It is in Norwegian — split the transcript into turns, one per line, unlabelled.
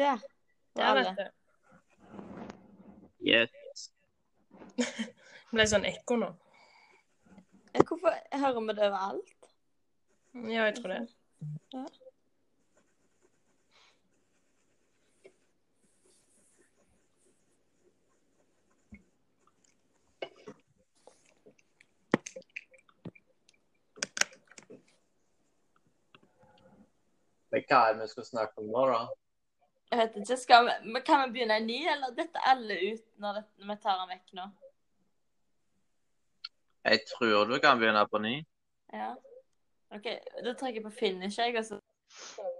Det
Der,
var
vet
det.
du.
Yes.
Det ble sånn ekko nå.
Men Hvorfor hører vi det overalt?
Ja, jeg tror det.
Ja.
Men hva er det vi skal snakke om nå, da?
Jeg vet ikke, skal vi, men Kan vi begynne en ny, eller detter alle ut når det, når vi tar den vekk nå?
Jeg tror du kan begynne på ny.
Ja. OK, da trykker jeg på finish, jeg, og så